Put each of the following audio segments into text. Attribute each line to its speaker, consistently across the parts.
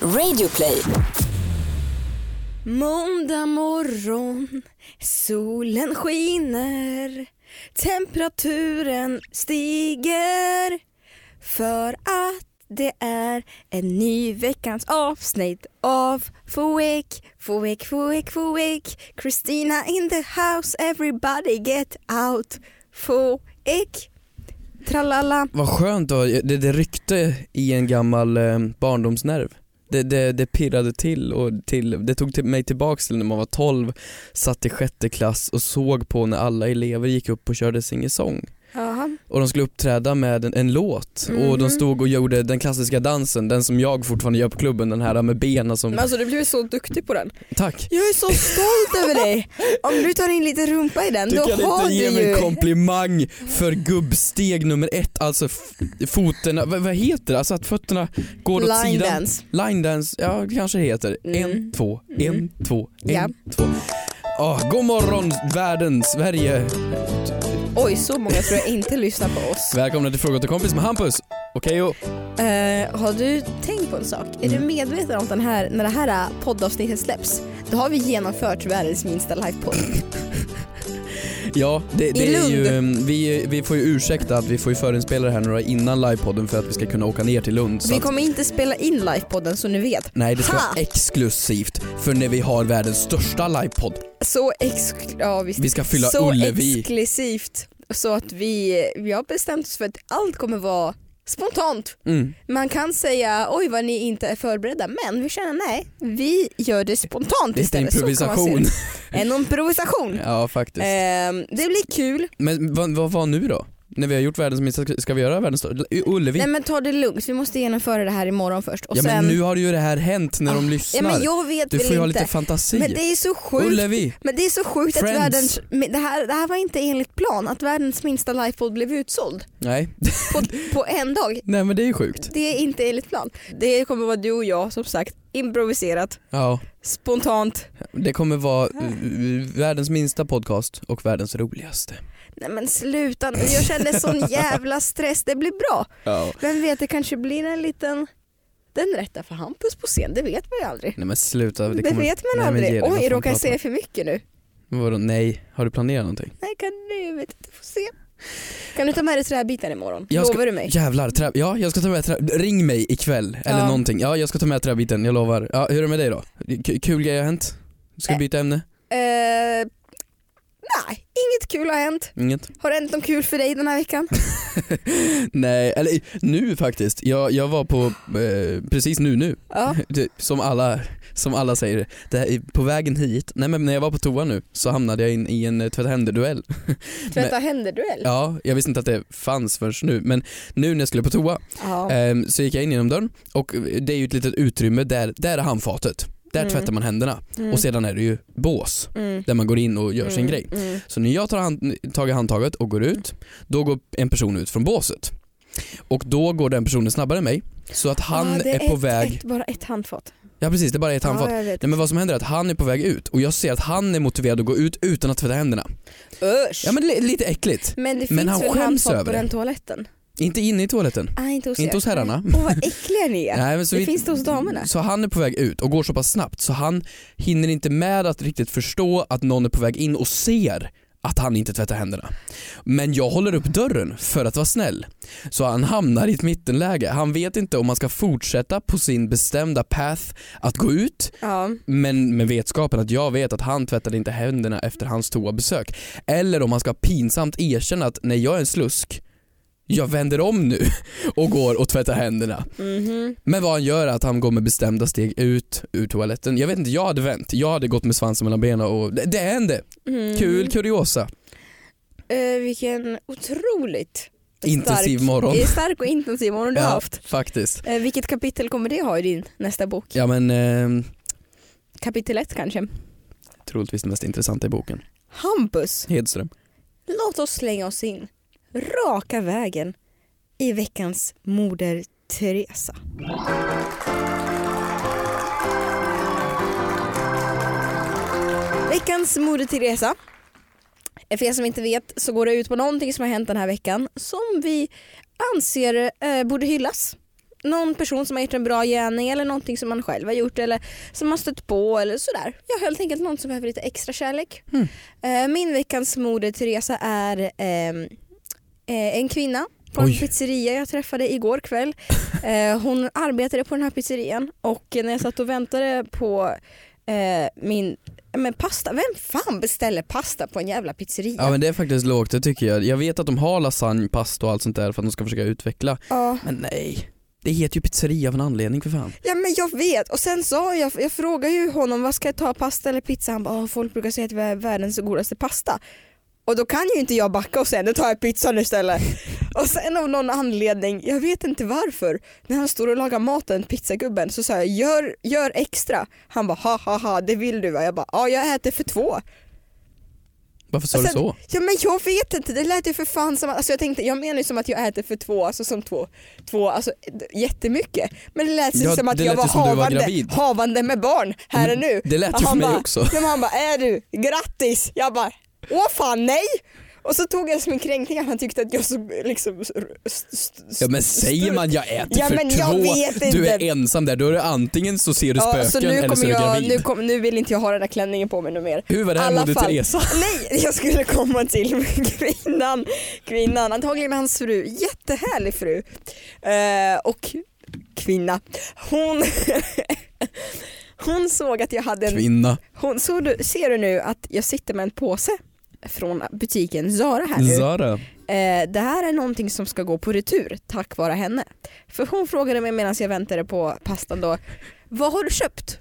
Speaker 1: Radioplay.
Speaker 2: Måndag morgon, solen skiner, temperaturen stiger för att det är en ny veckans avsnitt av Fawake, Fawake, Fawake, Fawake. Christina in the house, everybody get out. Fawake. Tralala.
Speaker 3: Vad skönt då, det, det ryckte i en gammal eh, barndomsnerv. Det, det, det pirrade till och till, det tog till mig tillbaks till när man var 12, satt i sjätte klass och såg på när alla elever gick upp och körde singesång.
Speaker 2: Jaha.
Speaker 3: Och de skulle uppträda med en, en låt och
Speaker 2: Mhm.
Speaker 3: de stod och gjorde den klassiska dansen, den som jag fortfarande gör på klubben, den här med benen som...
Speaker 4: Men alltså du blev så duktig på den.
Speaker 3: Tack!
Speaker 2: Jag är så stolt över dig. Om du tar in lite rumpa i den,
Speaker 3: Du
Speaker 2: då
Speaker 3: kan
Speaker 2: har
Speaker 3: inte
Speaker 2: du
Speaker 3: ge mig
Speaker 2: ju...
Speaker 3: en komplimang för gubbsteg nummer ett, alltså f- foten, vad, vad heter det? Alltså att fötterna går åt
Speaker 2: Line
Speaker 3: sidan.
Speaker 2: dance.
Speaker 3: Line dance, ja det kanske det heter.
Speaker 2: Mm.
Speaker 3: En, två,
Speaker 2: Mm.
Speaker 3: en, två, en,
Speaker 2: Ja.
Speaker 3: två. Oh, god morgon världen, Sverige.
Speaker 2: Oj, så många tror jag inte lyssnar på oss.
Speaker 3: Välkomna till Fråga till kompis med Hampus och Keyyo.
Speaker 2: Eh, har du tänkt på en sak? Är
Speaker 3: Mm.
Speaker 2: du medveten om att den här, när det här eh, poddavsnittet släpps, då har vi genomfört världens minsta livepodd.
Speaker 3: Ja, det,
Speaker 2: I
Speaker 3: det är ju,
Speaker 2: Lund.
Speaker 3: eh, vi, vi får ju ursäkta att vi får ju förinspela det här några innan livepodden för att vi ska kunna åka ner till Lund. Så
Speaker 2: Vi
Speaker 3: att,
Speaker 2: kommer inte spela in livepodden så ni vet.
Speaker 3: nej, det ska
Speaker 2: Ha!
Speaker 3: vara exklusivt för när vi har världens största livepodd.
Speaker 2: Så, exkl- ja, visst.
Speaker 3: Vi ska fylla
Speaker 2: så
Speaker 3: Ullevi.
Speaker 2: exklusivt. Så att vi, vi har bestämt oss för att allt kommer vara spontant.
Speaker 3: Mm.
Speaker 2: Man kan säga oj vad ni inte är förberedda men vi känner nej, vi gör det spontant
Speaker 3: Det är
Speaker 2: istället. Så kan man se
Speaker 3: improvisation.
Speaker 2: det. En improvisation.
Speaker 3: ja, faktiskt.
Speaker 2: Ehm, det blir kul.
Speaker 3: Men vad, vad, vad nu då? När vi har gjort världens minsta, ska vi göra världens största? Ullevi?
Speaker 2: Nej men ta det lugnt, vi måste genomföra det här imorgon först. Och
Speaker 3: ja
Speaker 2: sen...
Speaker 3: men nu har ju det här hänt när
Speaker 2: Ah,
Speaker 3: de lyssnar.
Speaker 2: ja, men jag vet
Speaker 3: Du
Speaker 2: väl
Speaker 3: får ju
Speaker 2: inte.
Speaker 3: ha lite fantasi.
Speaker 2: men det är så sjukt,
Speaker 3: Ullevi,
Speaker 2: men det är så sjukt att
Speaker 3: Friends.
Speaker 2: världens, men det, här, det här var inte enligt plan, att världens minsta lifeboat blev utsåld
Speaker 3: nej.
Speaker 2: på, på en dag.
Speaker 3: nej men det är ju sjukt.
Speaker 2: Det är inte enligt plan. Det kommer vara du och jag som sagt, improviserat,
Speaker 3: Ja,
Speaker 2: spontant.
Speaker 3: det kommer vara eh, världens minsta podcast och världens roligaste.
Speaker 2: Nej men sluta nu, jag känner sån jävla stress, det blir bra.
Speaker 3: Ja.
Speaker 2: Vem vet, det kanske blir en liten, den rätta för Hampus på scen, det vet man ju aldrig.
Speaker 3: Nej men sluta.
Speaker 2: Det,
Speaker 3: Det, kommer...
Speaker 2: vet man
Speaker 3: Nej, men ge
Speaker 2: aldrig.
Speaker 3: dig, vad
Speaker 2: Oj,
Speaker 3: fan
Speaker 2: råkar jag
Speaker 3: pratar
Speaker 2: säga för mycket nu?
Speaker 3: du om? Vadå nej, har du planerat någonting?
Speaker 2: Nej, kan du? Jag vet inte. Får se. Kan du ta med dig träbiten imorgon?
Speaker 3: Jag ska-
Speaker 2: Lovar du mig?
Speaker 3: Jävlar, trä... ja jag ska ta med trä... ring mig ikväll eller
Speaker 2: Ja.
Speaker 3: någonting. Ja jag ska ta med träbiten, jag lovar. Ja, hur är det med dig då? K- kul grejer har hänt? Ska vi
Speaker 2: Ä-
Speaker 3: byta ämne?
Speaker 2: Eh, nej, inget kul har hänt.
Speaker 3: Inget?
Speaker 2: Har det hänt något kul för dig den här veckan?
Speaker 3: Nej, eller nu faktiskt. Jag, jag var på, eh, precis nu nu,
Speaker 2: Ja.
Speaker 3: Det- Som alla, som alla säger, det här, är på vägen hit, nej men när jag var på toa nu så hamnade jag in i en eh, tvätta händer-duell.
Speaker 2: Tvätta händer-duell?
Speaker 3: Ja, jag visste inte att det fanns förrän nu men nu när jag skulle på toa
Speaker 2: Ja.
Speaker 3: ehm, så gick jag in genom dörren och det är ju ett litet utrymme där, där är handfatet. Där
Speaker 2: Mm.
Speaker 3: tvättar man händerna
Speaker 2: Mm.
Speaker 3: och sedan är det ju bås
Speaker 2: Mm.
Speaker 3: där man går in och gör sin
Speaker 2: Mm.
Speaker 3: grej.
Speaker 2: Mm.
Speaker 3: Så när jag tar hand, tag i handtaget och går ut, då går en person ut från båset. Och då går den personen snabbare än mig så att han
Speaker 2: Ja, Ah, det
Speaker 3: är, på
Speaker 2: ett,
Speaker 3: väg,
Speaker 2: Ett, bara ett handfat.
Speaker 3: ja precis det är bara ett handfat.
Speaker 2: Ja, jag vet.
Speaker 3: Nej men vad som händer är att han är på väg ut och jag ser att han är motiverad att gå ut utan att tvätta händerna.
Speaker 2: Usch!
Speaker 3: Ja men li- lite äckligt.
Speaker 2: Men det
Speaker 3: Men
Speaker 2: finns
Speaker 3: han
Speaker 2: väl
Speaker 3: skäms
Speaker 2: handfat på
Speaker 3: över det.
Speaker 2: den toaletten?
Speaker 3: Inte inne i toaletten.
Speaker 2: Nej, inte hos er.
Speaker 3: Inte hos herrarna.
Speaker 2: Åh vad äckliga ni är.
Speaker 3: Nej, men så,
Speaker 2: det
Speaker 3: vi,
Speaker 2: finns det hos damerna.
Speaker 3: så han är på väg ut och går så pass snabbt så han hinner inte med att riktigt förstå att någon är på väg in och ser att han inte tvättar händerna. Men jag håller upp dörren för att vara snäll. Så han hamnar i ett mittenläge. Han vet inte om han ska fortsätta på sin bestämda path att gå ut
Speaker 2: Ja.
Speaker 3: Men med vetskapen att jag vet att han tvättade inte händerna efter hans toabesök. Eller om han ska pinsamt erkänna att när jag är en slusk, jag vänder om nu och går och tvättar händerna.
Speaker 2: Mhm.
Speaker 3: Men vad han gör är att han går med bestämda steg ut ur toaletten. Jag vet inte, jag hade vänt. Jag hade gått med svansen mellan benen och det, det hände.
Speaker 2: Mhm.
Speaker 3: Kul kuriosa.
Speaker 2: Eh, vilken otroligt
Speaker 3: Intensiv morgon.
Speaker 2: Det är stark och intensiv morgon du har
Speaker 3: Ja,
Speaker 2: haft.
Speaker 3: faktiskt.
Speaker 2: Eh, vilket kapitel kommer det ha i din nästa bok?
Speaker 3: Ja men eh,
Speaker 2: Kapitel ett kanske?
Speaker 3: troligtvis det mest intressanta i boken.
Speaker 2: Hampus,
Speaker 3: Hedström.
Speaker 2: låt oss slänga oss in raka vägen i veckans Moder Teresa. Veckans Moder Teresa. För er som inte vet så går det ut på någonting som har hänt den här veckan som vi anser eh, borde hyllas någon person som har gjort en bra gärning eller någonting som man själv har gjort eller som man stött på eller sådär. Ja, helt enkelt någon som behöver lite extra kärlek.
Speaker 3: Mm.
Speaker 2: Eh, Min veckans moder Teresa är ehm, eh, en kvinna på en
Speaker 3: Oj.
Speaker 2: pizzeria jag träffade igår kväll. Eh, Hon arbetade på den här pizzerian och när jag satt och väntade på eh, min men pasta, vem fan beställer pasta på en jävla pizzeria?
Speaker 3: Ja men det är faktiskt lågt, det tycker jag. Jag vet att de har lasagne, pasta och allt sånt där för att de ska försöka utveckla.
Speaker 2: Ja.
Speaker 3: Men nej, det heter ju pizzeria av en anledning för fan.
Speaker 2: Ja men jag vet och sen sa jag, jag frågade ju honom vad ska jag ta, pasta eller pizza? Han bara "Åh, folk brukar säga att vi är världens godaste pasta. Och då kan ju inte jag backa och säga nu tar jag pizzan istället. och sen av någon anledning, jag vet inte varför, när han står och lagar maten, pizzagubben, så sa jag gör, gör extra. Han bara ha ha ha det vill du va? Jag bara ja jag äter för två.
Speaker 3: Varför sa
Speaker 2: Och
Speaker 3: du
Speaker 2: sen-
Speaker 3: så?
Speaker 2: Alltså, Ja men jag vet inte, det lät ju för fan som att, alltså jag tänkte, jag menar ju som att jag äter för två, alltså som två, två alltså d- jättemycket. Men det lät ju
Speaker 3: Ja,
Speaker 2: som att
Speaker 3: det
Speaker 2: jag
Speaker 3: lät
Speaker 2: var
Speaker 3: ju som du var
Speaker 2: havande,
Speaker 3: gravid. Mm,
Speaker 2: havande med barn här och nu.
Speaker 3: Det lät
Speaker 2: Och
Speaker 3: ju för
Speaker 2: han
Speaker 3: mig
Speaker 2: bara,
Speaker 3: också.
Speaker 2: Ja, men han bara, är du, grattis! Jag bara, åh fan nej! Och så tog jag det som en kränkning att han tyckte att jag så liksom... s- s- s-
Speaker 3: Ja men säger man jag äter
Speaker 2: Ja,
Speaker 3: för
Speaker 2: men
Speaker 3: två,
Speaker 2: jag vet
Speaker 3: du är
Speaker 2: inte.
Speaker 3: ensam där, då är det antingen så ser du
Speaker 2: Ja,
Speaker 3: spöken
Speaker 2: så nu,
Speaker 3: eller så är
Speaker 2: kommer
Speaker 3: du
Speaker 2: jag,
Speaker 3: gravid.
Speaker 2: nu, kom, nu vill inte jag ha den här klänningen på mig nu mer.
Speaker 3: Hur var det här
Speaker 2: alla
Speaker 3: Moder
Speaker 2: fall.
Speaker 3: Teresa?
Speaker 2: Nej, jag skulle komma till kvinnan, kvinnan antagligen hans fru, jättehärlig fru eh, och kvinna. Hon, hon såg att jag hade en,
Speaker 3: Kvinna,
Speaker 2: hon, såg du, ser du nu att jag sitter med en påse från butiken Zara här nu.
Speaker 3: Zara.
Speaker 2: Eh, det här är någonting som ska gå på retur tack vare henne. För hon frågade mig medan jag väntade på pastan då, vad har du köpt?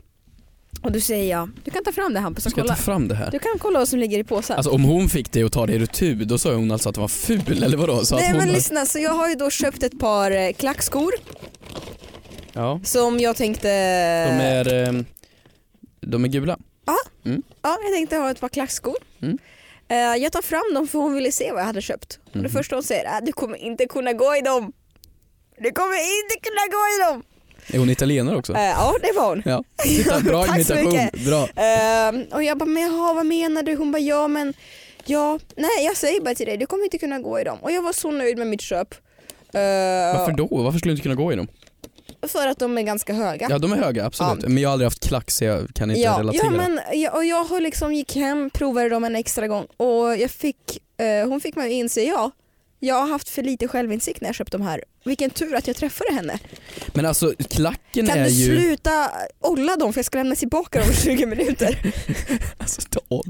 Speaker 2: Och då säger jag, du kan ta fram det Hampus och
Speaker 3: Ska jag ta
Speaker 2: kolla.
Speaker 3: fram det här?
Speaker 2: Du kan kolla vad som ligger i påsen.
Speaker 3: Alltså om hon fick dig att ta dig i retur, då sa hon alltså att det var ful eller vadå? Så att
Speaker 2: Nej
Speaker 3: hon
Speaker 2: men
Speaker 3: bara-
Speaker 2: lyssna, så jag har ju då köpt ett par eh, klackskor
Speaker 3: Ja,
Speaker 2: som jag tänkte...
Speaker 3: de är, ehm, de är gula.
Speaker 2: Ja, jag tänkte ha ett par klackskor.
Speaker 3: Mm.
Speaker 2: Eh, jag tar fram dem för hon ville se vad jag hade köpt. Och det
Speaker 3: Mhm.
Speaker 2: första hon säger är du kommer inte kunna gå i dem. Du kommer inte kunna gå i dem.
Speaker 3: Är hon italienare också?
Speaker 2: Eh, ja, det var hon.
Speaker 3: Ja, titta, bra
Speaker 2: Tack så
Speaker 3: imitation.
Speaker 2: mycket.
Speaker 3: Bra.
Speaker 2: Eh, och jag bara, men jaha vad menar du? Hon bara, ja men ja, nej jag säger bara till dig, du kommer inte kunna gå i dem. Och jag var så nöjd med mitt köp. Eh,
Speaker 3: Varför då? Varför skulle du inte kunna gå i dem?
Speaker 2: För att de är ganska höga.
Speaker 3: Ja de är höga, absolut. Men jag har aldrig haft klack så jag kan inte
Speaker 2: ja,
Speaker 3: relatera.
Speaker 2: ja, men jag, och jag har liksom gick hem, provade dem en extra gång och jag fick, eh, hon fick mig att inse, ja, jag har haft för lite självinsikt när jag köpt de här. Vilken tur att jag träffade henne.
Speaker 3: Men alltså klacken
Speaker 2: Kan
Speaker 3: är
Speaker 2: du
Speaker 3: ju...
Speaker 2: sluta olla dem för jag ska lämna tillbaka dem om 20 minuter?
Speaker 3: Alltså, ta av.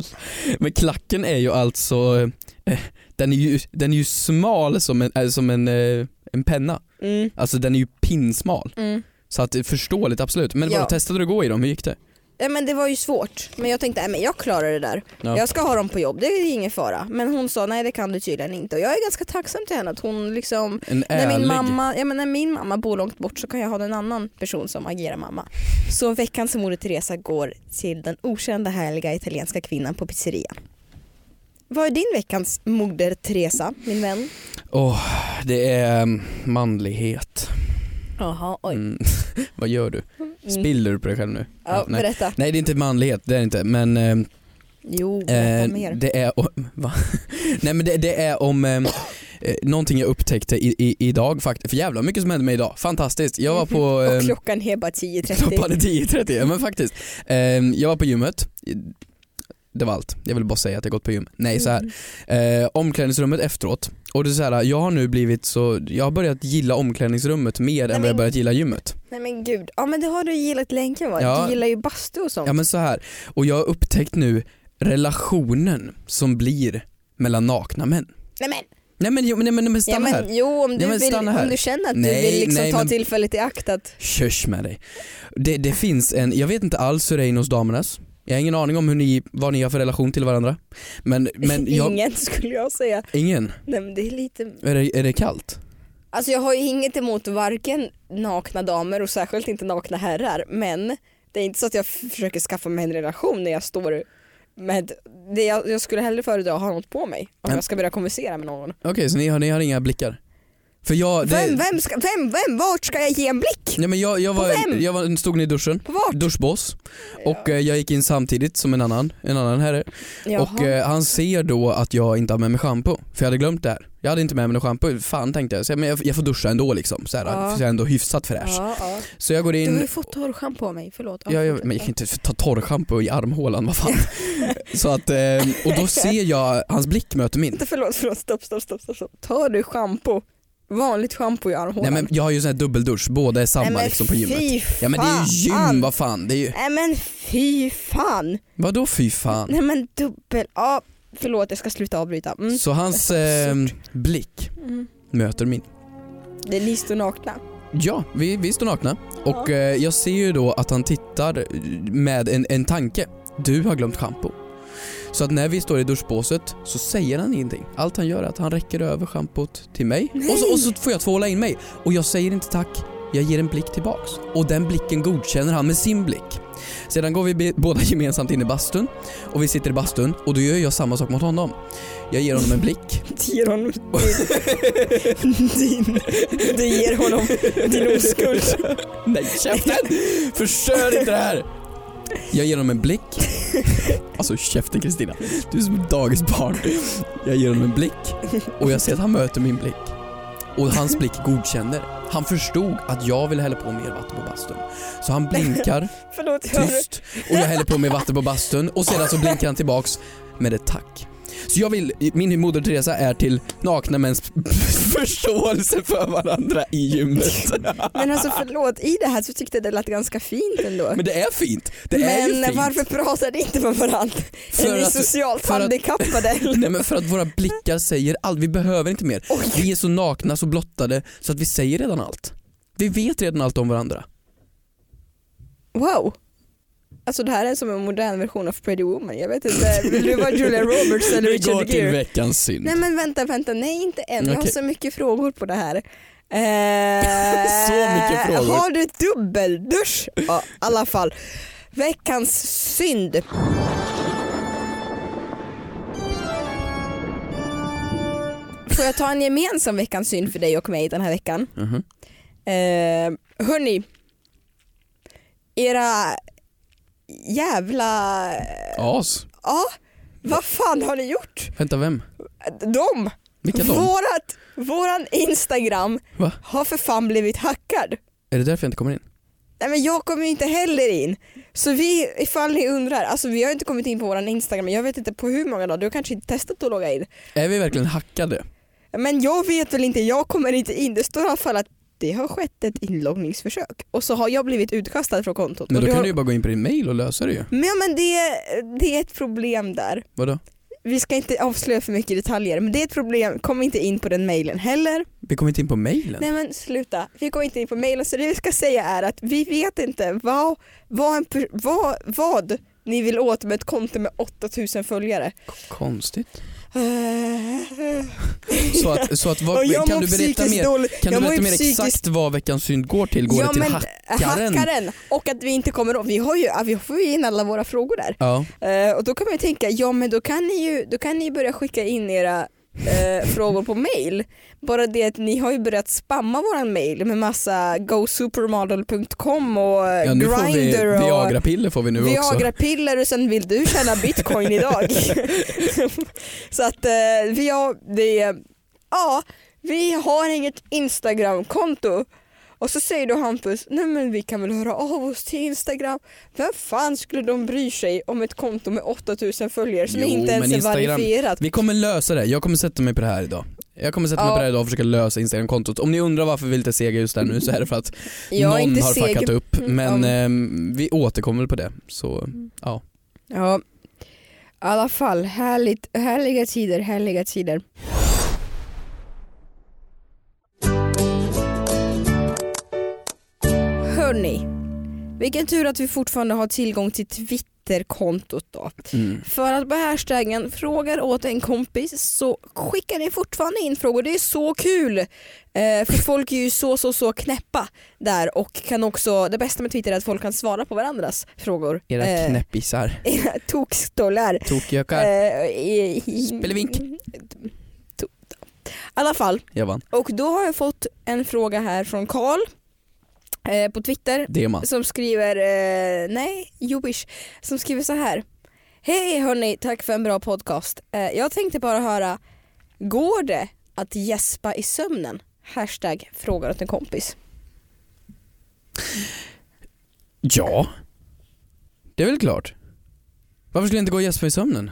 Speaker 3: Men klacken är ju alltså, eh, den är ju, den är ju smal som en, eh, som en, eh, en penna.
Speaker 2: Mm,
Speaker 3: Alltså den är ju pinsmal.
Speaker 2: mm.
Speaker 3: Så att det är förståeligt absolut. Men
Speaker 2: Ja.
Speaker 3: vadå, testade du att gå i dem? Hur gick det?
Speaker 2: Ja, men det var ju svårt, men jag tänkte nej, men jag klarar det där.
Speaker 3: Ja.
Speaker 2: Jag ska ha dem på jobb, det är ingen fara. Men hon sa nej det kan du tydligen inte och jag är ganska tacksam till henne att hon liksom
Speaker 3: En
Speaker 2: När
Speaker 3: ärlig.
Speaker 2: min, mamma, ja, men när min mamma bor långt bort så kan jag ha en annan person som agerar mamma. Så veckans Moder Teresa går till den okända härliga italienska kvinnan på pizzerian. Vad är din veckans Moder Teresa, min vän?
Speaker 3: Åh, det är mm, manlighet.
Speaker 2: Jaha,
Speaker 3: Mm. Vad gör du?
Speaker 2: Mm.
Speaker 3: Spiller du på dig själv nu?
Speaker 2: Ja,
Speaker 3: nej.
Speaker 2: berätta.
Speaker 3: nej det är inte manlighet, det är det inte. Men eh,
Speaker 2: Jo,
Speaker 3: Eh,
Speaker 2: berätta mer.
Speaker 3: det är o- va? Nej men det, det är om eh, eh, någonting jag upptäckte i, i, idag faktiskt. För jävla mycket som hände mig idag. Fantastiskt. Jag var på
Speaker 2: Och
Speaker 3: eh,
Speaker 2: klockan är bara 10.30.
Speaker 3: klockan är 10.30. Ja, Men faktiskt. Eh, jag var på gymmet. Det var allt. Jag vill bara säga att jag gått på gym. Nej så
Speaker 2: Mm.
Speaker 3: här. Eh, omklädningsrummet efteråt. Och det är så här, jag har nu blivit så, jag har börjat gilla omklädningsrummet mer
Speaker 2: Nej,
Speaker 3: än vad jag
Speaker 2: men-
Speaker 3: börjat gilla gymmet.
Speaker 2: Nej men gud, ja men det har du gillat länge va?
Speaker 3: Ja.
Speaker 2: Du gillar ju bastu och sånt.
Speaker 3: Ja men så här. och jag har upptäckt nu relationen som blir mellan nakna män.
Speaker 2: Nej men,
Speaker 3: Nej men, jo, men, nej, men, men stanna
Speaker 2: ja, men
Speaker 3: här.
Speaker 2: jo om du,
Speaker 3: men
Speaker 2: vill,
Speaker 3: stanna här.
Speaker 2: om du känner att
Speaker 3: Nej,
Speaker 2: du vill liksom
Speaker 3: nej,
Speaker 2: ta
Speaker 3: men-
Speaker 2: tillfället i akt att
Speaker 3: Körs med dig. Det, det finns en, jag vet inte alls hur det är inne hos damernas. Jag har ingen aning om hur ni, vad ni har för relation till varandra. Men, men jag, ingen.
Speaker 2: Ingen skulle jag säga. Nej, men det är lite...
Speaker 3: Är det, är det kallt?
Speaker 2: Alltså jag har ju inget emot varken nakna damer och särskilt inte nakna herrar men det är inte så att jag f- försöker skaffa mig en relation när jag står med det jag, jag skulle hellre föredra att ha något på mig om
Speaker 3: Men-
Speaker 2: jag ska börja konversera med någon.
Speaker 3: Okej, så ni har, ni har inga blickar? För jag, det,
Speaker 2: Vem, vem, ska, vem, vem, vart ska jag ge en blick?
Speaker 3: Nej, men jag, jag, var,
Speaker 2: vem?
Speaker 3: jag var, stod i duschen,
Speaker 2: På vart?
Speaker 3: duschboss och eh, jag gick in samtidigt som en annan, en annan herre och eh, han ser då att jag inte har med mig shampoo för jag hade glömt det här. Jag hade inte med mig något shampoo, fan tänkte jag. Så jag, men jag, jag får duscha ändå liksom, så här,
Speaker 2: Ja.
Speaker 3: för jag är ändå hyfsat fräsch.
Speaker 2: ja, ja.
Speaker 3: Så jag går
Speaker 2: Du har
Speaker 3: in
Speaker 2: ju fått torrschampo på mig, förlåt. Ja,
Speaker 3: Ja, jag,
Speaker 2: fortsätt.
Speaker 3: men jag kan inte ta torrschampo i armhålan, vad fan. så att, eh, och då ser jag, hans blick möter min.
Speaker 2: Inte förlåt, förlåt, stopp, stopp, stopp, stopp, stopp. Tar du schampo, vanligt schampo i
Speaker 3: Nej
Speaker 2: armhålan?
Speaker 3: men jag har ju sån här dubbeldusch, båda är samma liksom på gymmet.
Speaker 2: fy fan.
Speaker 3: Ja men det är ju gym, vad fan. Det är ju,
Speaker 2: Nej men fy fan.
Speaker 3: vadå fy fan?
Speaker 2: Nej men dubbel, ja förlåt jag ska sluta avbryta. Mm.
Speaker 3: Så hans eh, blick
Speaker 2: Mm.
Speaker 3: möter min.
Speaker 2: Det är ni står nakna.
Speaker 3: Ja, vi, vi står nakna och eh, jag ser ju då att han tittar eh, med en, en tanke. Du har glömt schampo. Så att när vi står i duschbåset så säger han ingenting. Allt han gör är att han räcker över schampot till mig och så, och så får jag tvåla in mig och jag säger inte tack. Jag ger en blick tillbaks och den blicken godkänner han med sin blick. Sedan går vi be- båda gemensamt in i bastun och vi sitter i bastun och då gör jag samma sak mot honom. Jag ger honom en blick
Speaker 2: Det ger honom din, din, det ger honom din oskuld.
Speaker 3: Nej, käften! Förstör inte det här! Jag ger honom en blick. Alltså käften Kristina, du är som ett dagisbarn. Jag ger honom en blick och jag ser att han möter min blick. Och hans blick godkänner. Han förstod att jag ville hälla på mer vatten på bastun. Så han blinkar
Speaker 2: Förlåt jag
Speaker 3: tyst och jag häller på mig vatten på bastun och sedan så blinkar han tillbaks med ett tack. Så jag vill, min moder Teresa är till nakna mäns förståelse för varandra i gymmet.
Speaker 2: Men alltså förlåt, i det här så tyckte jag det lät ganska fint ändå.
Speaker 3: Men det är fint. Det är ju
Speaker 2: Men
Speaker 3: fint.
Speaker 2: varför pratar ni inte med varandra?
Speaker 3: För
Speaker 2: är ni
Speaker 3: att-
Speaker 2: socialt
Speaker 3: för att-
Speaker 2: handikappade eller?
Speaker 3: Nej men för att våra blickar säger allt, vi behöver inte mer.
Speaker 2: Oj.
Speaker 3: Vi är så nakna, så blottade, så att vi säger redan allt. Vi vet redan allt om varandra.
Speaker 2: Wow. Alltså det här är som en modern version av Pretty Woman. Jag vet inte, eh, vill du vara Julia Roberts eller
Speaker 3: Vi går
Speaker 2: Richard
Speaker 3: till
Speaker 2: Gere?
Speaker 3: veckans synd.
Speaker 2: Nej men vänta, vänta, nej inte än. Jag har
Speaker 3: Okej.
Speaker 2: så mycket frågor på det här. Eh,
Speaker 3: Så mycket frågor.
Speaker 2: Har du dubbeldusch? Ja, i alla fall. Veckans synd. Får jag ta en gemensam veckans synd för dig och mig den här veckan?
Speaker 3: Mhm.
Speaker 2: Eh, hörni, era jävla...
Speaker 3: As.
Speaker 2: Ja, vad fan har ni gjort?
Speaker 3: Vänta, vem?
Speaker 2: De!
Speaker 3: Vilka de?
Speaker 2: Vårat, våran Instagram
Speaker 3: Va?
Speaker 2: har för fan blivit hackad.
Speaker 3: Är det därför jag inte kommer in?
Speaker 2: Nej men jag kommer ju inte heller in. Så vi, ifall ni undrar, alltså vi har inte kommit in på våran Instagram, jag vet inte på hur många dagar, du har kanske inte testat att logga in.
Speaker 3: Är vi verkligen hackade?
Speaker 2: Men jag vet väl inte, jag kommer inte in. Det står i alla fall att det har skett ett inloggningsförsök och så har jag blivit utkastad från kontot.
Speaker 3: Men
Speaker 2: och
Speaker 3: då
Speaker 2: du
Speaker 3: kan
Speaker 2: har...
Speaker 3: du ju bara gå in på din mail och lösa det ju.
Speaker 2: men, ja, men det, det är ett problem där.
Speaker 3: Vadå?
Speaker 2: Vi ska inte avslöja för mycket detaljer men det är ett problem, kom inte in på den mailen heller.
Speaker 3: Vi kommer inte in på mailen.
Speaker 2: Nej men sluta, vi går inte in på mejlen så det vi ska säga är att vi vet inte vad, vad, en, per- vad, vad ni vill åt med ett konto med 8000 följare.
Speaker 3: Konstigt.
Speaker 2: Eh,
Speaker 3: Så att, så att
Speaker 2: och
Speaker 3: vad,
Speaker 2: jag
Speaker 3: kan
Speaker 2: mår
Speaker 3: du berätta
Speaker 2: psykiskt
Speaker 3: mer,
Speaker 2: dåligt.
Speaker 3: kan du
Speaker 2: jag mår
Speaker 3: berätta
Speaker 2: ju
Speaker 3: mer
Speaker 2: psykiskt-
Speaker 3: exakt vad veckans synd går till? Går det till hack? hackaren?
Speaker 2: hackaren. Och att vi inte kommer åt, vi, har ju, vi får ju in alla våra frågor där.
Speaker 3: Ja.
Speaker 2: Eh, och då kan man ju tänka, ja men då kan ni ju då kan ni börja skicka in era eh, frågor på mail. Bara det att ni har ju börjat spamma våran mail med massa gosupermodel.com och eh,
Speaker 3: Ja, nu får vi
Speaker 2: Grindr och
Speaker 3: Viagra-piller får vi nu också.
Speaker 2: Viagra-piller och sen vill du tjäna bitcoin idag. så att eh, vi har, det är, ja, vi har inget Instagram-konto. Och så säger då Hampus, nej men vi kan väl höra av oss till Instagram. Vem fan skulle de bry sig om ett konto med 8000 följare som
Speaker 3: Jo,
Speaker 2: inte ens
Speaker 3: men
Speaker 2: är
Speaker 3: Instagram-
Speaker 2: verifierat?
Speaker 3: Vi kommer lösa det, jag kommer sätta mig på det här idag. Jag kommer sätta mig
Speaker 2: Ja.
Speaker 3: på det här idag och försöka lösa Instagram-kontot. Om ni undrar varför vi är lite sega just där nu så är det för att
Speaker 2: Jag är
Speaker 3: någon
Speaker 2: inte
Speaker 3: har
Speaker 2: seg- Mm,
Speaker 3: fuckat upp. Men
Speaker 2: Ja.
Speaker 3: ehm, vi återkommer väl på det. Så ja.
Speaker 2: Ja, i alla fall härligt, härliga tider, härliga tider. Hörni, vilken tur att vi fortfarande har tillgång till Twitterkontot då.
Speaker 3: Mm.
Speaker 2: För att på hashtaggen frågar åt en kompis så skickar ni fortfarande in frågor. Det är så kul! Eh, för folk är ju så så så knäppa där och kan också, det bästa med Twitter är att folk kan svara på varandras frågor.
Speaker 3: Era
Speaker 2: Eh,
Speaker 3: knäppisar,
Speaker 2: era tokstollar.
Speaker 3: tokgökar.
Speaker 2: Eh, i- i-
Speaker 3: Spelevink.
Speaker 2: To- alla fall,
Speaker 3: Jag vann.
Speaker 2: och då har jag fått en fråga här från Karl eh, på Twitter
Speaker 3: Det är man.
Speaker 2: som skriver, eh, nej, Jobish, som skriver så här. Hej hörni, tack för en bra podcast. Eh, jag tänkte bara höra, går det att gäspa i sömnen? Hashtag frågar åt en kompis.
Speaker 3: Ja. Det är väl klart. Varför skulle jag inte gå och gäspa i sömnen?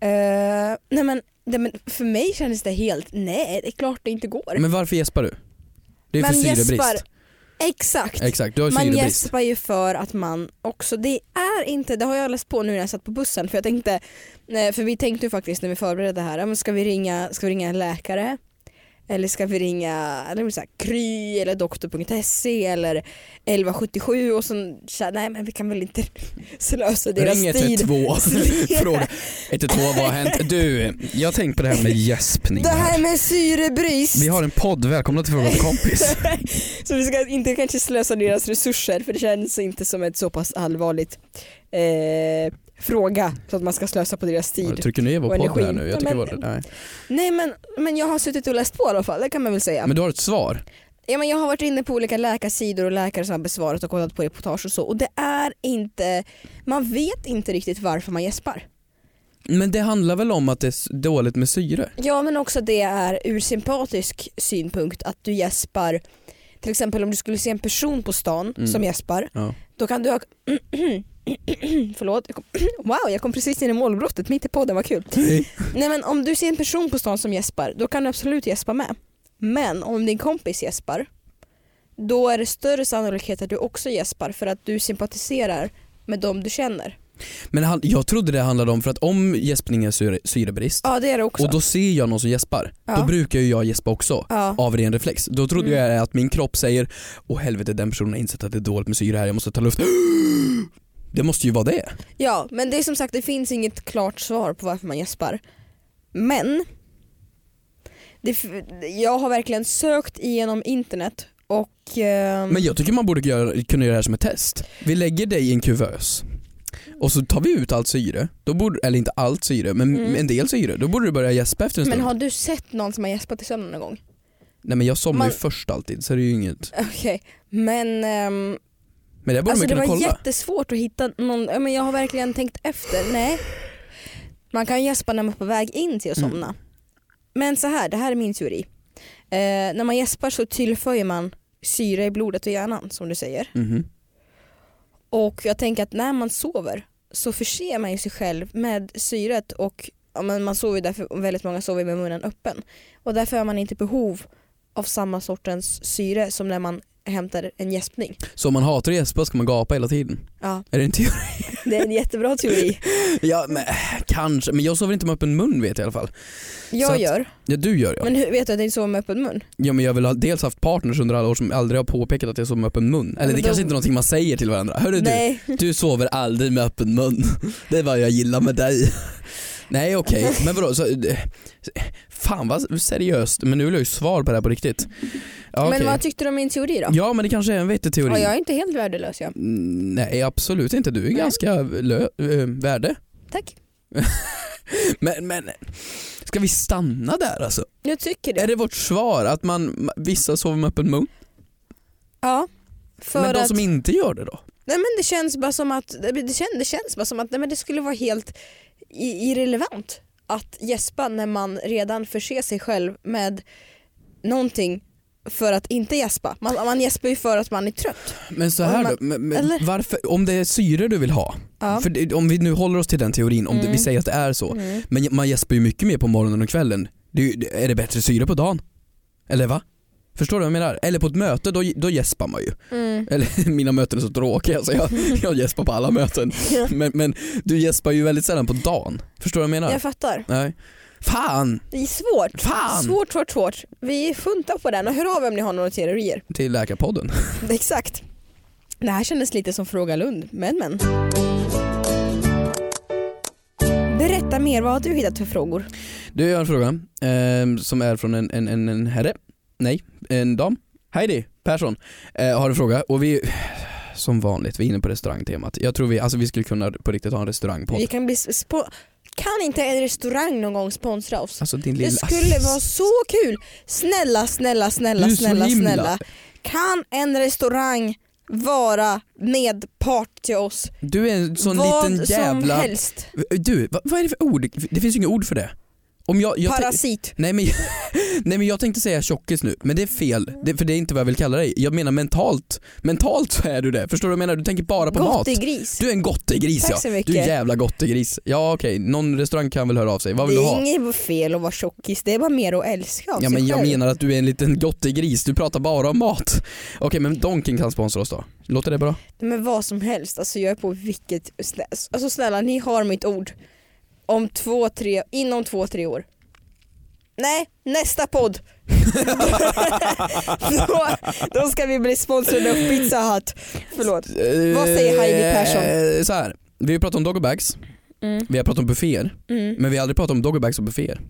Speaker 2: Eh, nej, men, nej men för mig kändes det helt, nej det är klart det inte går.
Speaker 3: Men varför gäspar du? Det är för
Speaker 2: Man
Speaker 3: syrebrist.
Speaker 2: gäspar. Exakt.
Speaker 3: Exakt, du har ju
Speaker 2: Man
Speaker 3: syrebrist.
Speaker 2: gäspar ju för att man också, det är inte, det har jag läst på nu när jag satt på bussen för jag tänkte, eh, för vi tänkte ju faktiskt när vi förberedde det här, ja, men ska vi ringa, ska vi ringa en läkare? Eller ska vi ringa eller så här, Kry eller doktor.se eller 1177 och så, tja, nej men vi kan väl inte slösa deras
Speaker 3: Ring
Speaker 2: tid.
Speaker 3: 112
Speaker 2: Stil.
Speaker 3: fråga. 112 vad har hänt? Du, jag har tänkt på det här med gäspning.
Speaker 2: Det här med syrebrist!
Speaker 3: Vi har en podd, välkomna till Fråga åt kompis.
Speaker 2: Så vi ska inte kanske slösa deras resurser för det känns inte som ett så pass allvarligt eh, fråga så att man ska slösa på deras
Speaker 3: Jag
Speaker 2: tid.
Speaker 3: trycker ner vår
Speaker 2: Och
Speaker 3: podd här
Speaker 2: energin.
Speaker 3: nu. Jag tycker
Speaker 2: Men-
Speaker 3: det var, nej.
Speaker 2: Nej men, men jag har suttit och läst på i alla fall, det kan man väl säga.
Speaker 3: Men du har ett svar.
Speaker 2: ja, men jag har varit inne på olika läkarsidor och läkare som har besvarat och kollat på reportage och så och det är inte, man vet inte riktigt varför man gäspar.
Speaker 3: Men det handlar väl om att det är s- dåligt med syre?
Speaker 2: Ja men också det är ur sympatisk synpunkt att du gäspar till exempel om du skulle se en person på stan
Speaker 3: Mm.
Speaker 2: som gäspar
Speaker 3: Ja.
Speaker 2: Då kan du ha... Förlåt. jag kom- Wow, jag kom precis in i målbrottet mitt i podden, vad kul. Nej men om du ser en person på stan som gäspar, då kan du absolut gäspa med. Men om din kompis gäspar, då är det större sannolikhet att du också gäspar för att du sympatiserar med dem du känner.
Speaker 3: Men han, jag trodde det handlade om, för att om gäspning är syre, syrebrist
Speaker 2: Ja det är det också.
Speaker 3: och då ser jag någon som gäspar,
Speaker 2: Ja.
Speaker 3: då brukar ju jag gäspa också.
Speaker 2: ja. Mm.
Speaker 3: Av ren reflex. Då trodde jag att min kropp säger Åh helvete den personen har insett att det är dåligt med syre här, jag måste ta luft. Det måste ju vara det.
Speaker 2: ja, men det är som sagt, det finns inget klart svar på varför man gäspar. Men, det, f- jag har verkligen sökt igenom internet och... ehm,
Speaker 3: Men jag tycker man borde göra, kunna göra det här som ett test. Vi lägger dig i en kuvös och så tar vi ut allt syre, då borde, eller inte allt syre men
Speaker 2: Mm.
Speaker 3: en del syre, då borde du börja gäspa efter en stund.
Speaker 2: Men har du sett någon som har gäspat i sömnen någon gång?
Speaker 3: Nej men jag somnar ju
Speaker 2: man-
Speaker 3: först alltid så det är ju inget.
Speaker 2: Okej, men ehm,
Speaker 3: Men det borde
Speaker 2: alltså
Speaker 3: man
Speaker 2: det
Speaker 3: kunna
Speaker 2: var
Speaker 3: kolla.
Speaker 2: jättesvårt att hitta någon, ja, men jag har verkligen tänkt efter, nej. Man kan gäspa när man är på väg in till att
Speaker 3: Mm.
Speaker 2: somna. Men så här, det här är min teori. Eh, när man gäspar så tillför man syre i blodet och hjärnan som du säger.
Speaker 3: Mhm.
Speaker 2: Och jag tänker att när man sover så förser man ju sig själv med syret och ja, men man sover ju därför, väldigt många sover med munnen öppen. Och därför har man inte behov av samma sortens syre som när man hämtar en gäspning.
Speaker 3: Så om man hatar att gäspa ska man gapa hela tiden?
Speaker 2: Ja,
Speaker 3: Är det inte
Speaker 2: det är en jättebra teori.
Speaker 3: Ja men äh, kanske, men jag sover inte med öppen mun vet jag i alla fall. Så
Speaker 2: Jag
Speaker 3: att-
Speaker 2: gör,
Speaker 3: Ja du gör ja.
Speaker 2: men hur vet du att jag inte sover med öppen mun?
Speaker 3: Ja men jag har väl ha- dels haft partners under alla år som aldrig har påpekat att jag sover med öppen mun. Eller
Speaker 2: men
Speaker 3: det
Speaker 2: de-
Speaker 3: kanske inte är någonting man säger till varandra. Hörru du,
Speaker 2: Nej,
Speaker 3: du sover aldrig med öppen mun. Det är vad jag gillar med dig. Nej okej, men vadå? Så, eh, fan vad seriöst, men nu vill jag ju svar på det här på riktigt. Ja,
Speaker 2: men
Speaker 3: okej.
Speaker 2: vad tyckte du om min teori då?
Speaker 3: ja men det kanske är en vettig teori.
Speaker 2: Ja, jag är inte helt värdelös jag.
Speaker 3: Mm, Nej absolut inte, du är
Speaker 2: Nej.
Speaker 3: ganska lö- eh, värde.
Speaker 2: Tack.
Speaker 3: Men, men ska vi stanna där alltså?
Speaker 2: Jag tycker
Speaker 3: Är
Speaker 2: det.
Speaker 3: det vårt svar att man, vissa sover med öppen mun?
Speaker 2: Ja. För
Speaker 3: men de
Speaker 2: att,
Speaker 3: som inte gör det då?
Speaker 2: nej, men det känns bara som att, det, det känns, det känns bara som att nej, men det skulle vara helt i, irrelevant att gäspa när man redan förser sig själv med någonting för att inte gäspa. Man, man gäspar ju för att man är trött.
Speaker 3: Men så
Speaker 2: Om
Speaker 3: här
Speaker 2: man-
Speaker 3: då, men, men
Speaker 2: eller?
Speaker 3: varför, om det är syre du vill ha,
Speaker 2: Ja.
Speaker 3: för det, om vi nu håller oss till den teorin, om det, vi
Speaker 2: Mm.
Speaker 3: säger att det är så,
Speaker 2: Mm.
Speaker 3: men man gäspar ju mycket mer på morgonen och kvällen, det, är ju- det- är det bättre syre på dagen? Eller va? Förstår du vad jag menar? Eller på ett möte, då, då gäspar man ju.
Speaker 2: Mm.
Speaker 3: Eller mina möten är så tråkiga så jag, jag gäspar på alla möten. Men, men du gäspar ju väldigt sällan på dagen. Förstår du vad jag menar?
Speaker 2: Mm. Jag fattar.
Speaker 3: Nej. Fan!
Speaker 2: Det är svårt.
Speaker 3: Fan!
Speaker 2: Svårt, svårt, svårt. Vi funtar på den och hör av om ni har några teorier.
Speaker 3: Till Läkarpodden.
Speaker 2: Exakt. Det här kändes lite som Fråga Lund, men men. Berätta mer, vad har du hittat för frågor?
Speaker 3: Du, jag har en fråga ehm, som är från en, en, en, en herre, nej, en dam. Heidi Persson eh, har en fråga och vi, som vanligt, vi är inne på restaurangtemat. Jag tror vi, alltså vi skulle kunna på riktigt ha en restaurangpodd.
Speaker 2: Vi kan bli sp- Kan inte en restaurang någon gång sponsra oss?
Speaker 3: Alltså din
Speaker 2: Det
Speaker 3: lilla...
Speaker 2: skulle vara så kul! Snälla, snälla, snälla,
Speaker 3: Du är så
Speaker 2: snälla,
Speaker 3: himla-
Speaker 2: snälla. Kan en restaurang vara medpart till oss?
Speaker 3: Du är en sån
Speaker 2: Vad
Speaker 3: liten
Speaker 2: som
Speaker 3: jävla...
Speaker 2: helst.
Speaker 3: Du, vad, vad är det för ord? Det finns ju inga ord för det. Om jag, jag tän-
Speaker 2: Parasit.
Speaker 3: nej, men, nej men jag tänkte säga tjockis nu, men det är fel. Det, för det är inte vad jag vill kalla dig. Jag menar mentalt. Mentalt så är du det. Förstår du vad jag menar? Du tänker bara på mat.
Speaker 2: Gottegris.
Speaker 3: Du är en gottegris
Speaker 2: Tack
Speaker 3: ja.
Speaker 2: så
Speaker 3: Du är
Speaker 2: mycket.
Speaker 3: en jävla gottegris. Ja okej, någon restaurang kan väl höra av sig. Vad vill
Speaker 2: det
Speaker 3: du
Speaker 2: är
Speaker 3: ha?
Speaker 2: inget fel att vara tjockis, det är bara mer att älska av
Speaker 3: Ja
Speaker 2: sig
Speaker 3: men jag
Speaker 2: själv.
Speaker 3: menar att du är en liten gottegris, du pratar bara om mat. Okej men Donken kan sponsra oss då. Låter det bra?
Speaker 2: Men vad som helst, alltså jag är på vilket... snä- Alltså snälla, ni har mitt ord. Om två, tre, inom två, tre år. Nej, nästa podd! då, då ska vi bli sponsrade av Pizza Hut. Förlåt. Vad säger Heidi Persson?
Speaker 3: Eh, Så här. vi har pratat om doggybags,
Speaker 2: Mm.
Speaker 3: vi har pratat om bufféer,
Speaker 2: Mm.
Speaker 3: men vi har aldrig pratat om doggybags och bufféer.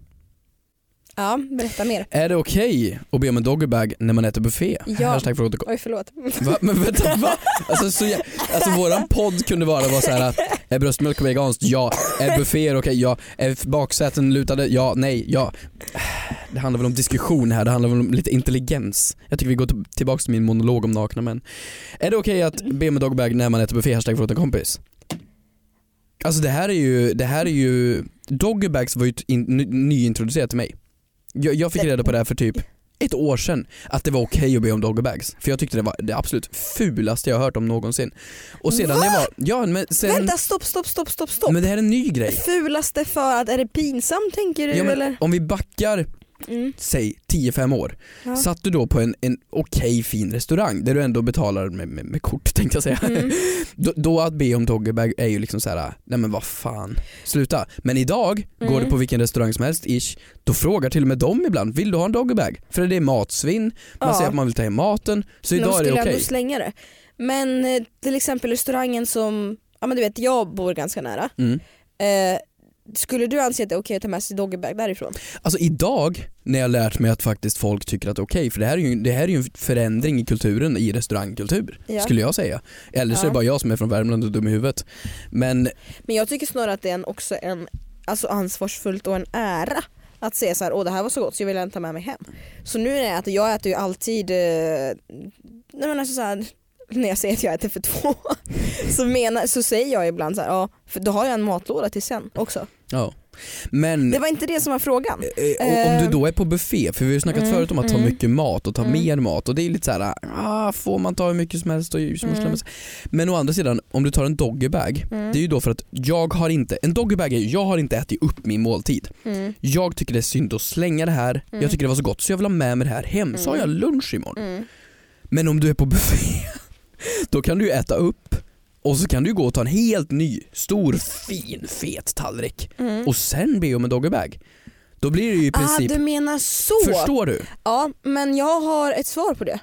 Speaker 2: Ja, berätta mer.
Speaker 3: Är det okej att be om en doggybag när man äter buffé?
Speaker 2: Ja.
Speaker 3: Hashtag fråga till-
Speaker 2: Oj, förlåt.
Speaker 3: Va? Men vänta va? Alltså, så jag, alltså våran podd kunde vara, vara så här att är bröstmjölk veganskt? Ja. Är bufféer okej? Ja. Är baksäten lutade? Ja. Nej. Ja. Det handlar väl om diskussion här, det handlar väl om lite intelligens. Jag tycker vi går t- tillbaka till min monolog om nakna män. Är det okej att be med dogbag när man äter buffé? Hashtag förlåt en kompis. Alltså det här är ju, det här är ju, doggybags var ju t- in, ny- nyintroducerat till mig. Jag, jag fick reda på det här för typ ett år sedan att det var okej att be om doggybags. För jag tyckte det var det absolut fulaste jag har hört om någonsin. Och sedan det var, ja men sen,
Speaker 2: Vänta, stopp, stopp, stopp, stopp, stopp.
Speaker 3: men det här är en ny
Speaker 2: Det
Speaker 3: grej.
Speaker 2: fulaste för att, är det pinsamt tänker du
Speaker 3: Ja, men
Speaker 2: eller?
Speaker 3: Om vi backar,
Speaker 2: Mm.
Speaker 3: säg 10-5 år,
Speaker 2: Ja.
Speaker 3: satt du då på en, en okej fin restaurang där du ändå betalar med, med, med kort tänkte jag säga.
Speaker 2: Mm.
Speaker 3: Då, då att be om doggybag är ju liksom så här: nej men vad fan, sluta. Men idag,
Speaker 2: Mm.
Speaker 3: går du på vilken restaurang som helst ish, då frågar till och med dem ibland, vill du ha en doggybag? För det är matsvinn, man
Speaker 2: Ja.
Speaker 3: säger att man vill ta hem maten, så
Speaker 2: Men de
Speaker 3: idag är det
Speaker 2: skulle
Speaker 3: okej.
Speaker 2: ändå slänga det. Men eh, till exempel restaurangen som, ja men du vet jag bor ganska nära.
Speaker 3: Mm.
Speaker 2: Eh, skulle du anse att det är okej att ta med sig doggybag därifrån?
Speaker 3: Alltså idag när jag lärt mig att faktiskt folk tycker att det är okej, för det här är ju, det här är ju en förändring i kulturen, i restaurangkultur
Speaker 2: Ja.
Speaker 3: skulle jag säga. Eller så är
Speaker 2: Ja.
Speaker 3: det bara jag som är från Värmland och dum i huvudet. Men
Speaker 2: Men jag tycker snarare att det är en, också en, alltså ansvarsfullt och en ära att säga så här, åh det här var så gott så jag vill inte ta med mig hem. Så nu när jag äter, jag äter ju alltid, eh, nej men alltså så här, när jag säger att jag äter för två så, menar, så säger jag ibland så här, ja för då har jag en matlåda till sen också.
Speaker 3: ja. Men
Speaker 2: Det var inte det som var frågan.
Speaker 3: eh, och, om du
Speaker 2: eh,
Speaker 3: då är på buffé, för vi har ju snackat
Speaker 2: mm,
Speaker 3: förut om att ta
Speaker 2: mm.
Speaker 3: mycket mat och ta
Speaker 2: Mm.
Speaker 3: mer mat och det är lite så här, ah, får man ta hur mycket som helst och hur som helst.
Speaker 2: Mm.
Speaker 3: Men å andra sidan, om du tar en doggybag, det är ju då för att jag har inte, en doggybag är ju, jag har inte ätit upp min måltid.
Speaker 2: Mm,
Speaker 3: Jag tycker det är synd att slänga det här,
Speaker 2: Mm.
Speaker 3: jag tycker det var så gott så jag vill ha med mig det här hem, så har jag lunch imorgon.
Speaker 2: mm.
Speaker 3: Men om du är på buffé, då kan du ju äta upp och så kan du ju gå och ta en helt ny, stor, fin, fet tallrik
Speaker 2: Mm.
Speaker 3: och sen be om en doggybag. Då blir det ju i princip,
Speaker 2: Ah, du menar så?
Speaker 3: förstår du?
Speaker 2: Ja, men jag har ett svar på det.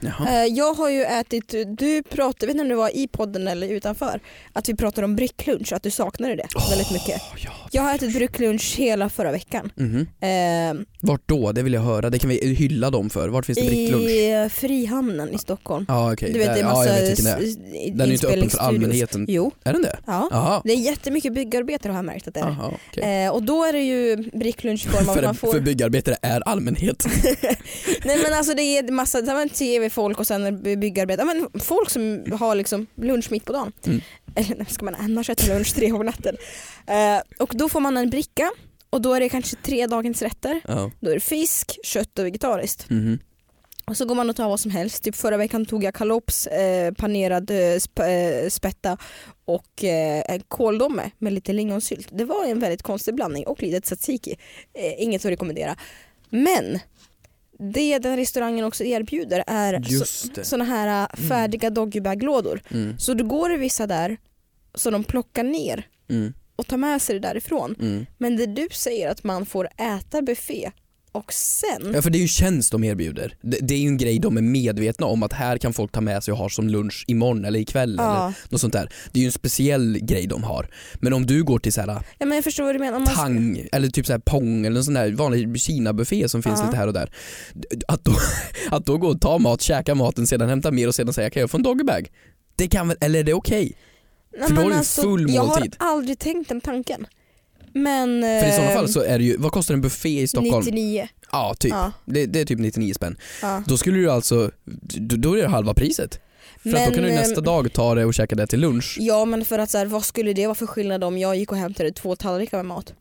Speaker 3: Jaha.
Speaker 2: Eh, Jag har ju ätit, du pratade, vet inte om det var i podden eller utanför, att vi pratade om bricklunch, att du saknade det väldigt mycket.
Speaker 3: Åh, ja.
Speaker 2: Jag har ätit bricklunch hela förra veckan.
Speaker 3: Mhm.
Speaker 2: Eh,
Speaker 3: Vart då? Det vill jag höra, det kan vi hylla dem för. Vart finns det bricklunch?
Speaker 2: I Frihamnen i Stockholm.
Speaker 3: Ja okej,
Speaker 2: Du vet
Speaker 3: Där-
Speaker 2: det är
Speaker 3: ja,
Speaker 2: massa
Speaker 3: jag vet vilken det är.
Speaker 2: s- i-
Speaker 3: Den är ju inte öppen för
Speaker 2: inspelningsstudios.
Speaker 3: allmänheten.
Speaker 2: Jo,
Speaker 3: Är den det?
Speaker 2: ja.
Speaker 3: Jaha,
Speaker 2: Det är jättemycket byggarbetare har jag märkt att det är.
Speaker 3: Aha, okej.
Speaker 2: Eh, och då är det ju bricklunch i form av att
Speaker 3: för,
Speaker 2: man får
Speaker 3: för byggarbetare är allmänhet.
Speaker 2: Nej men alltså det är massa, det var en tv-folk och sen byggarbetare, Ja, men folk som har liksom lunch mitt på dagen.
Speaker 3: Mm.
Speaker 2: Eller när ska man annars äta lunch tre på natten? Eh, och då får man en bricka och då är det kanske tre dagens rätter.
Speaker 3: Ja.
Speaker 2: Då är det fisk, kött och vegetariskt.
Speaker 3: Mhm.
Speaker 2: Och så går man och tar vad som helst. Typ förra veckan tog jag kalops, eh, panerad eh, sp- eh, spätta och eh, en kåldomme med lite lingonsylt. Det var en väldigt konstig blandning och lite tzatziki. Eh, inget att rekommendera. Men det den restaurangen också erbjuder är
Speaker 3: Just det.
Speaker 2: sådana här eh, färdiga doggybaglådor.
Speaker 3: Mm.
Speaker 2: Så då går det vissa där som de plockar ner
Speaker 3: Mm.
Speaker 2: och tar med sig det därifrån.
Speaker 3: Mm.
Speaker 2: Men det du säger att man får äta buffé och sen
Speaker 3: Ja för det är ju en tjänst de erbjuder. Det, det är ju en grej de är medvetna om att här kan folk ta med sig och ha som lunch imorgon eller ikväll eller
Speaker 2: Ja.
Speaker 3: något sånt där. Det är ju en speciell grej de har. Men om du går till så här
Speaker 2: Ja, men jag förstår vad du menar. Om man-
Speaker 3: tang eller typ så här pong eller en sån där vanlig kinabuffé som finns
Speaker 2: Ja.
Speaker 3: lite här och där. Att då, att då gå och ta mat, käka maten, sedan hämta mer och sedan säga kan jag få en doggybag? Det kan väl, eller är det okej?
Speaker 2: Nej,
Speaker 3: För då
Speaker 2: men alltså,
Speaker 3: har du en full
Speaker 2: Jag har
Speaker 3: måltid.
Speaker 2: aldrig tänkt den tanken. Men... eh,
Speaker 3: För i sådana fall så är det ju, vad kostar en buffé i Stockholm?
Speaker 2: 99.
Speaker 3: Ja, typ.
Speaker 2: Ja,
Speaker 3: Det, det är typ 99 spänn.
Speaker 2: ja.
Speaker 3: Då skulle du alltså, då då är det halva priset. För att
Speaker 2: Men,
Speaker 3: då kan du
Speaker 2: ehm,
Speaker 3: nästa dag ta det och käka det till lunch.
Speaker 2: ja men för att så här, vad skulle det vara för skillnad om jag gick och hämtade två tallrikar med mat?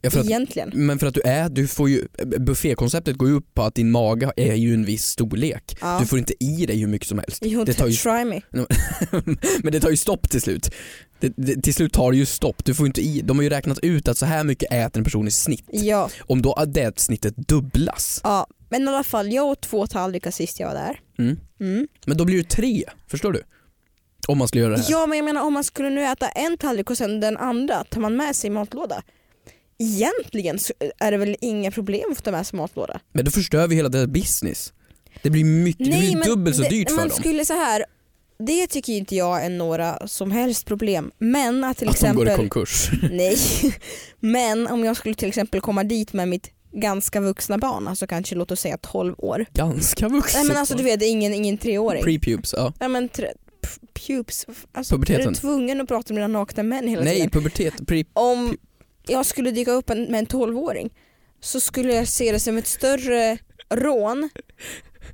Speaker 3: Ja, för att,
Speaker 2: Egentligen.
Speaker 3: men för att du är, du får ju, buffékonceptet går ju upp på att din mage är ju en viss storlek.
Speaker 2: Ja.
Speaker 3: Du får inte i dig hur mycket som helst.
Speaker 2: Jo,
Speaker 3: det tar ju-
Speaker 2: try me.
Speaker 3: Men det tar ju stopp till slut. Det, det, till slut tar det ju stopp, du får inte i, de har ju räknat ut att så här mycket äter en person i snitt.
Speaker 2: Ja.
Speaker 3: Om då det snittet dubblas,
Speaker 2: ja. Men i alla fall, jag åt två tallrikar sist jag var där.
Speaker 3: mm.
Speaker 2: Mm.
Speaker 3: men då blir det tre, förstår du? Om man skulle göra det här.
Speaker 2: Ja men jag menar om man skulle nu äta en tallrik och sen den andra, tar man med sig matlåda? Egentligen så är det väl inga problem att ta med sig matlåda?
Speaker 3: Men då förstör vi hela deras business. Det blir, mycket, det blir dubbelt så
Speaker 2: det-
Speaker 3: dyrt för
Speaker 2: man
Speaker 3: dem.
Speaker 2: skulle så här, det tycker ju inte jag är några som helst problem. Men att till
Speaker 3: att de går i
Speaker 2: exempel,
Speaker 3: konkurs.
Speaker 2: nej, men om jag skulle till exempel komma dit med mitt ganska vuxna barn, alltså kanske låt oss säga 12 år.
Speaker 3: Ganska vuxen.
Speaker 2: Nej men alltså du vet, det är ingen, ingen treåring.
Speaker 3: Prepubes, ja.
Speaker 2: Nej men tre, p- pubes, alltså är
Speaker 3: Puberteten.
Speaker 2: du tvungen att prata med dina nakna män hela tiden?
Speaker 3: Nej, pubertet. Pre
Speaker 2: om jag skulle dyka upp en, med en 12-åring så skulle jag se det som ett större rån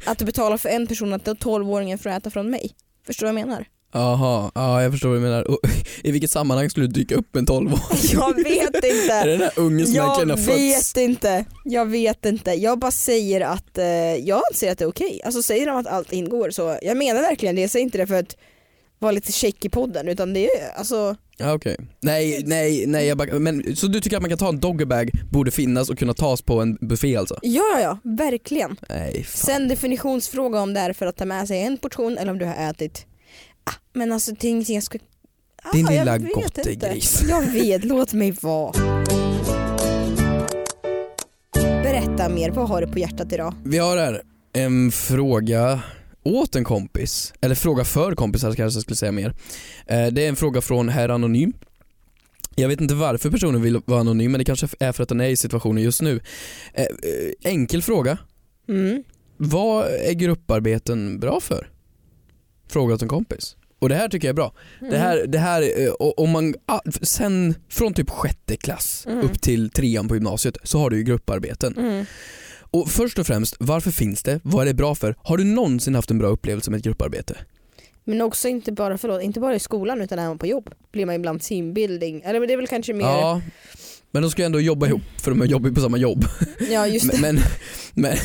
Speaker 2: att betala för en person att den 12-åringen får äta från mig. Förstår du vad jag menar?
Speaker 3: Aha, ja jag förstår vad du menar. Och, I vilket sammanhang skulle du dyka upp en 12 år?
Speaker 2: Jag vet
Speaker 3: Är
Speaker 2: inte.
Speaker 3: det den där ungen som verkligen
Speaker 2: Jag
Speaker 3: har
Speaker 2: vet
Speaker 3: fötts?
Speaker 2: inte. Jag vet inte. Jag bara säger att eh, jag anser att det är okej. Alltså säger de att allt ingår så jag menar verkligen det. Jag säger inte det för att vara lite check i podden utan det är alltså
Speaker 3: Ja, okej. Nej, nej, nej. Jag bara, men, så du tycker att man kan ta en doggerbag, borde finnas och kunna tas på en buffé alltså?
Speaker 2: ja ja, ja verkligen.
Speaker 3: Nej, fan.
Speaker 2: Sen definitionsfråga om det är för att ta med sig en portion eller om du har ätit. Ah, men alltså det är ingenting jag ska... Ah,
Speaker 3: Din
Speaker 2: jag
Speaker 3: lilla
Speaker 2: vet
Speaker 3: gottegris.
Speaker 2: inte. Jag vet, låt mig vara. Berätta mer, vad har du på hjärtat idag?
Speaker 3: Vi har här en fråga åt en kompis, eller fråga för kompisar kanske jag skulle säga mer. Eh, Det är en fråga från herr Anonym. Jag vet inte varför personen vill vara anonym men det kanske är för att den är i situationen just nu. Eh, eh, Enkel fråga,
Speaker 2: Mm.
Speaker 3: vad är grupparbeten bra för? Fråga åt en kompis. Och det här tycker jag är bra. Det här,
Speaker 2: Mm.
Speaker 3: det här eh, o- om man, ah, sen från typ sjätte klass
Speaker 2: Mm.
Speaker 3: upp till trean på gymnasiet så har du ju grupparbeten.
Speaker 2: Mm.
Speaker 3: Och först och främst, varför finns det? Vad är det bra för? Har du någonsin haft en bra upplevelse med ett grupparbete?
Speaker 2: Men också inte bara, förlåt, inte bara i skolan utan även på jobb blir man ibland simbildning. Eller men det är väl kanske mer, ja,
Speaker 3: Ja, men de ska ju ändå jobba ihop för de jobbar ju på samma jobb.
Speaker 2: just det.
Speaker 3: Men, men, men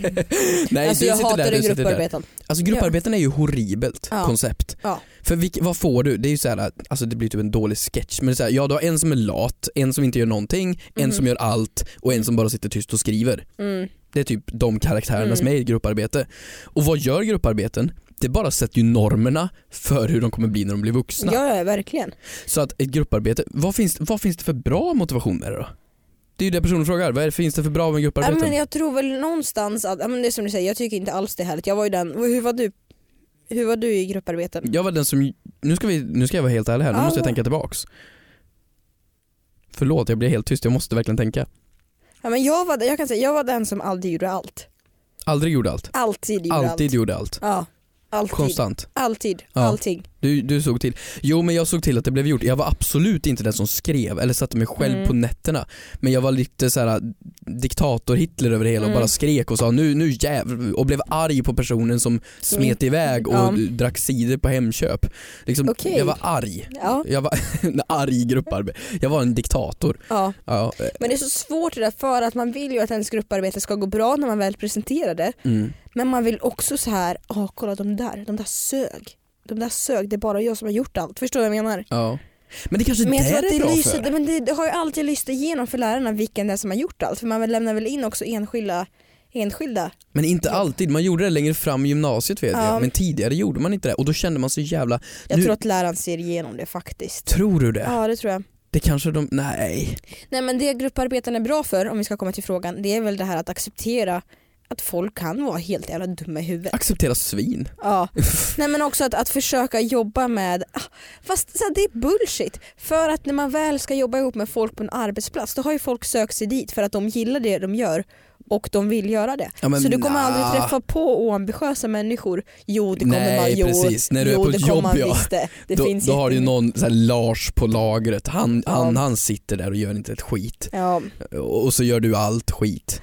Speaker 3: nej,
Speaker 2: alltså
Speaker 3: du
Speaker 2: jag
Speaker 3: sitter där,
Speaker 2: hatar
Speaker 3: du
Speaker 2: det
Speaker 3: sitter där.
Speaker 2: grupparbeten.
Speaker 3: Alltså grupparbeten är ju horribelt
Speaker 2: Ja.
Speaker 3: koncept.
Speaker 2: Ja.
Speaker 3: För vilk, vad får du? Det är ju så här, alltså det blir typ en dålig sketch. Men det är så här, ja du har en som är lat, en som inte gör någonting, en
Speaker 2: Mhm.
Speaker 3: som gör allt och en som bara sitter tyst och skriver.
Speaker 2: Mm.
Speaker 3: Det är typ de karaktärerna
Speaker 2: Mm.
Speaker 3: som är i ett grupparbete. Och vad gör grupparbeten? Det bara sätter ju normerna för hur de kommer bli när de blir vuxna.
Speaker 2: Ja, ja, verkligen.
Speaker 3: Så att ett grupparbete, vad finns, vad finns det för bra motivation med det då? Det är ju det personen frågar, vad är, det- finns det för bra med
Speaker 2: Ja,
Speaker 3: grupparbeten?
Speaker 2: men jag tror väl någonstans att, ja, men det är som du säger, jag tycker inte alls det är härligt. Jag var ju den, hur var du, hur var du i grupparbeten?
Speaker 3: Jag var den som, nu ska, vi, nu ska jag vara helt ärlig här, nu
Speaker 2: Ja,
Speaker 3: måste jag
Speaker 2: ja.
Speaker 3: tänka tillbaks. Förlåt, jag blir helt tyst, jag måste verkligen tänka.
Speaker 2: Ja, men jag, var, jag kan säga, jag var den som aldrig gjorde allt.
Speaker 3: Aldrig gjorde allt.
Speaker 2: Alltid gjorde
Speaker 3: Alltid
Speaker 2: allt.
Speaker 3: gjorde allt.
Speaker 2: Ja, alltid.
Speaker 3: Konstant.
Speaker 2: Alltid,
Speaker 3: Ja.
Speaker 2: allting.
Speaker 3: Du, du såg till. Jo men jag såg till att det blev gjort. Jag var absolut inte den som skrev eller satte mig själv
Speaker 2: Mm.
Speaker 3: på nätterna. Men jag var lite så här diktator-Hitler över det hela och
Speaker 2: Mm.
Speaker 3: bara skrek och sa nu, nu jävlar och blev arg på personen som smet iväg och
Speaker 2: Mm. Ja.
Speaker 3: drack cider på Hemköp. Liksom,
Speaker 2: Okej.
Speaker 3: Jag var arg.
Speaker 2: Ja,
Speaker 3: Jag var en arg grupparbete. Jag var en diktator.
Speaker 2: ja.
Speaker 3: Ja, eh,
Speaker 2: Men det är så svårt det där för att man vill ju att ens grupparbete ska gå bra när man väl presenterar det.
Speaker 3: mm.
Speaker 2: Men man vill också så här, ja kolla de där, de där sög. De där sög, det är bara jag som har gjort allt. Förstår du vad jag menar?
Speaker 3: ja. Men det kanske
Speaker 2: Men jag
Speaker 3: det
Speaker 2: tror
Speaker 3: är
Speaker 2: att det,
Speaker 3: bra
Speaker 2: lyser,
Speaker 3: för.
Speaker 2: det, men det, det har ju alltid lyst igenom för lärarna vilken det är som har gjort allt. För man väl lämnar väl in också enskilda, enskilda.
Speaker 3: Men inte alltid, man gjorde det längre fram i gymnasiet vet
Speaker 2: Ja.
Speaker 3: jag. Men tidigare gjorde man inte det och då kände man sig jävla...
Speaker 2: Jag
Speaker 3: nu,
Speaker 2: tror att läraren ser igenom det faktiskt.
Speaker 3: tror du det?
Speaker 2: Ja det tror jag.
Speaker 3: Det kanske de, nej.
Speaker 2: Nej men det grupparbeten är bra för, om vi ska komma till frågan, det är väl det här att acceptera att folk kan vara helt jävla dumma i huvudet.
Speaker 3: Acceptera svin.
Speaker 2: Ja. Nej men också att, att försöka jobba med, ah, fast så här, det är bullshit. För att när man väl ska jobba ihop med folk på en arbetsplats då har ju folk sökt sig dit för att de gillar det de gör och de vill göra det.
Speaker 3: Ja, men
Speaker 2: så du kommer
Speaker 3: nja.
Speaker 2: aldrig träffa på oambitiösa människor. Jo det kommer
Speaker 3: Nej,
Speaker 2: man, jo,
Speaker 3: precis. När du är
Speaker 2: jo
Speaker 3: på
Speaker 2: det
Speaker 3: ett
Speaker 2: kommer
Speaker 3: jobb,
Speaker 2: man
Speaker 3: ja.
Speaker 2: visst det. det
Speaker 3: då
Speaker 2: finns
Speaker 3: då har du ju
Speaker 2: jättemycket.
Speaker 3: någon så här Lars på lagret, han,
Speaker 2: Ja.
Speaker 3: han, han sitter där och gör inte ett skit.
Speaker 2: Ja.
Speaker 3: Och och så gör du allt skit.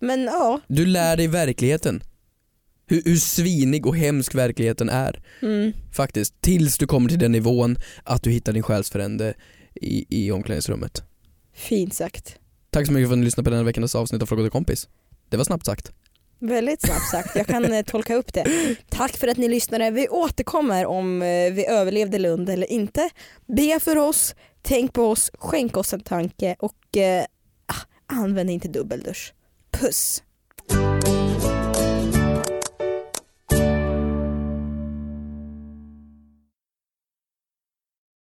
Speaker 2: Men ja,
Speaker 3: Du lär dig verkligheten. Hur, hur svinig och hemsk verkligheten är.
Speaker 2: mm.
Speaker 3: Faktiskt. Tills du kommer till den nivån att du hittar din själsfrände i, i omklädningsrummet.
Speaker 2: fint sagt.
Speaker 3: Tack så mycket för att ni lyssnade på den här veckans avsnitt av Fråga till kompis. Det var snabbt sagt.
Speaker 2: Väldigt snabbt sagt, jag kan eh, tolka upp det. Tack för att ni lyssnade. Vi återkommer om eh, vi överlevde Lund eller inte. Be för oss, tänk på oss, skänk oss en tanke och eh, ah, använd inte dubbeldusch. Puss!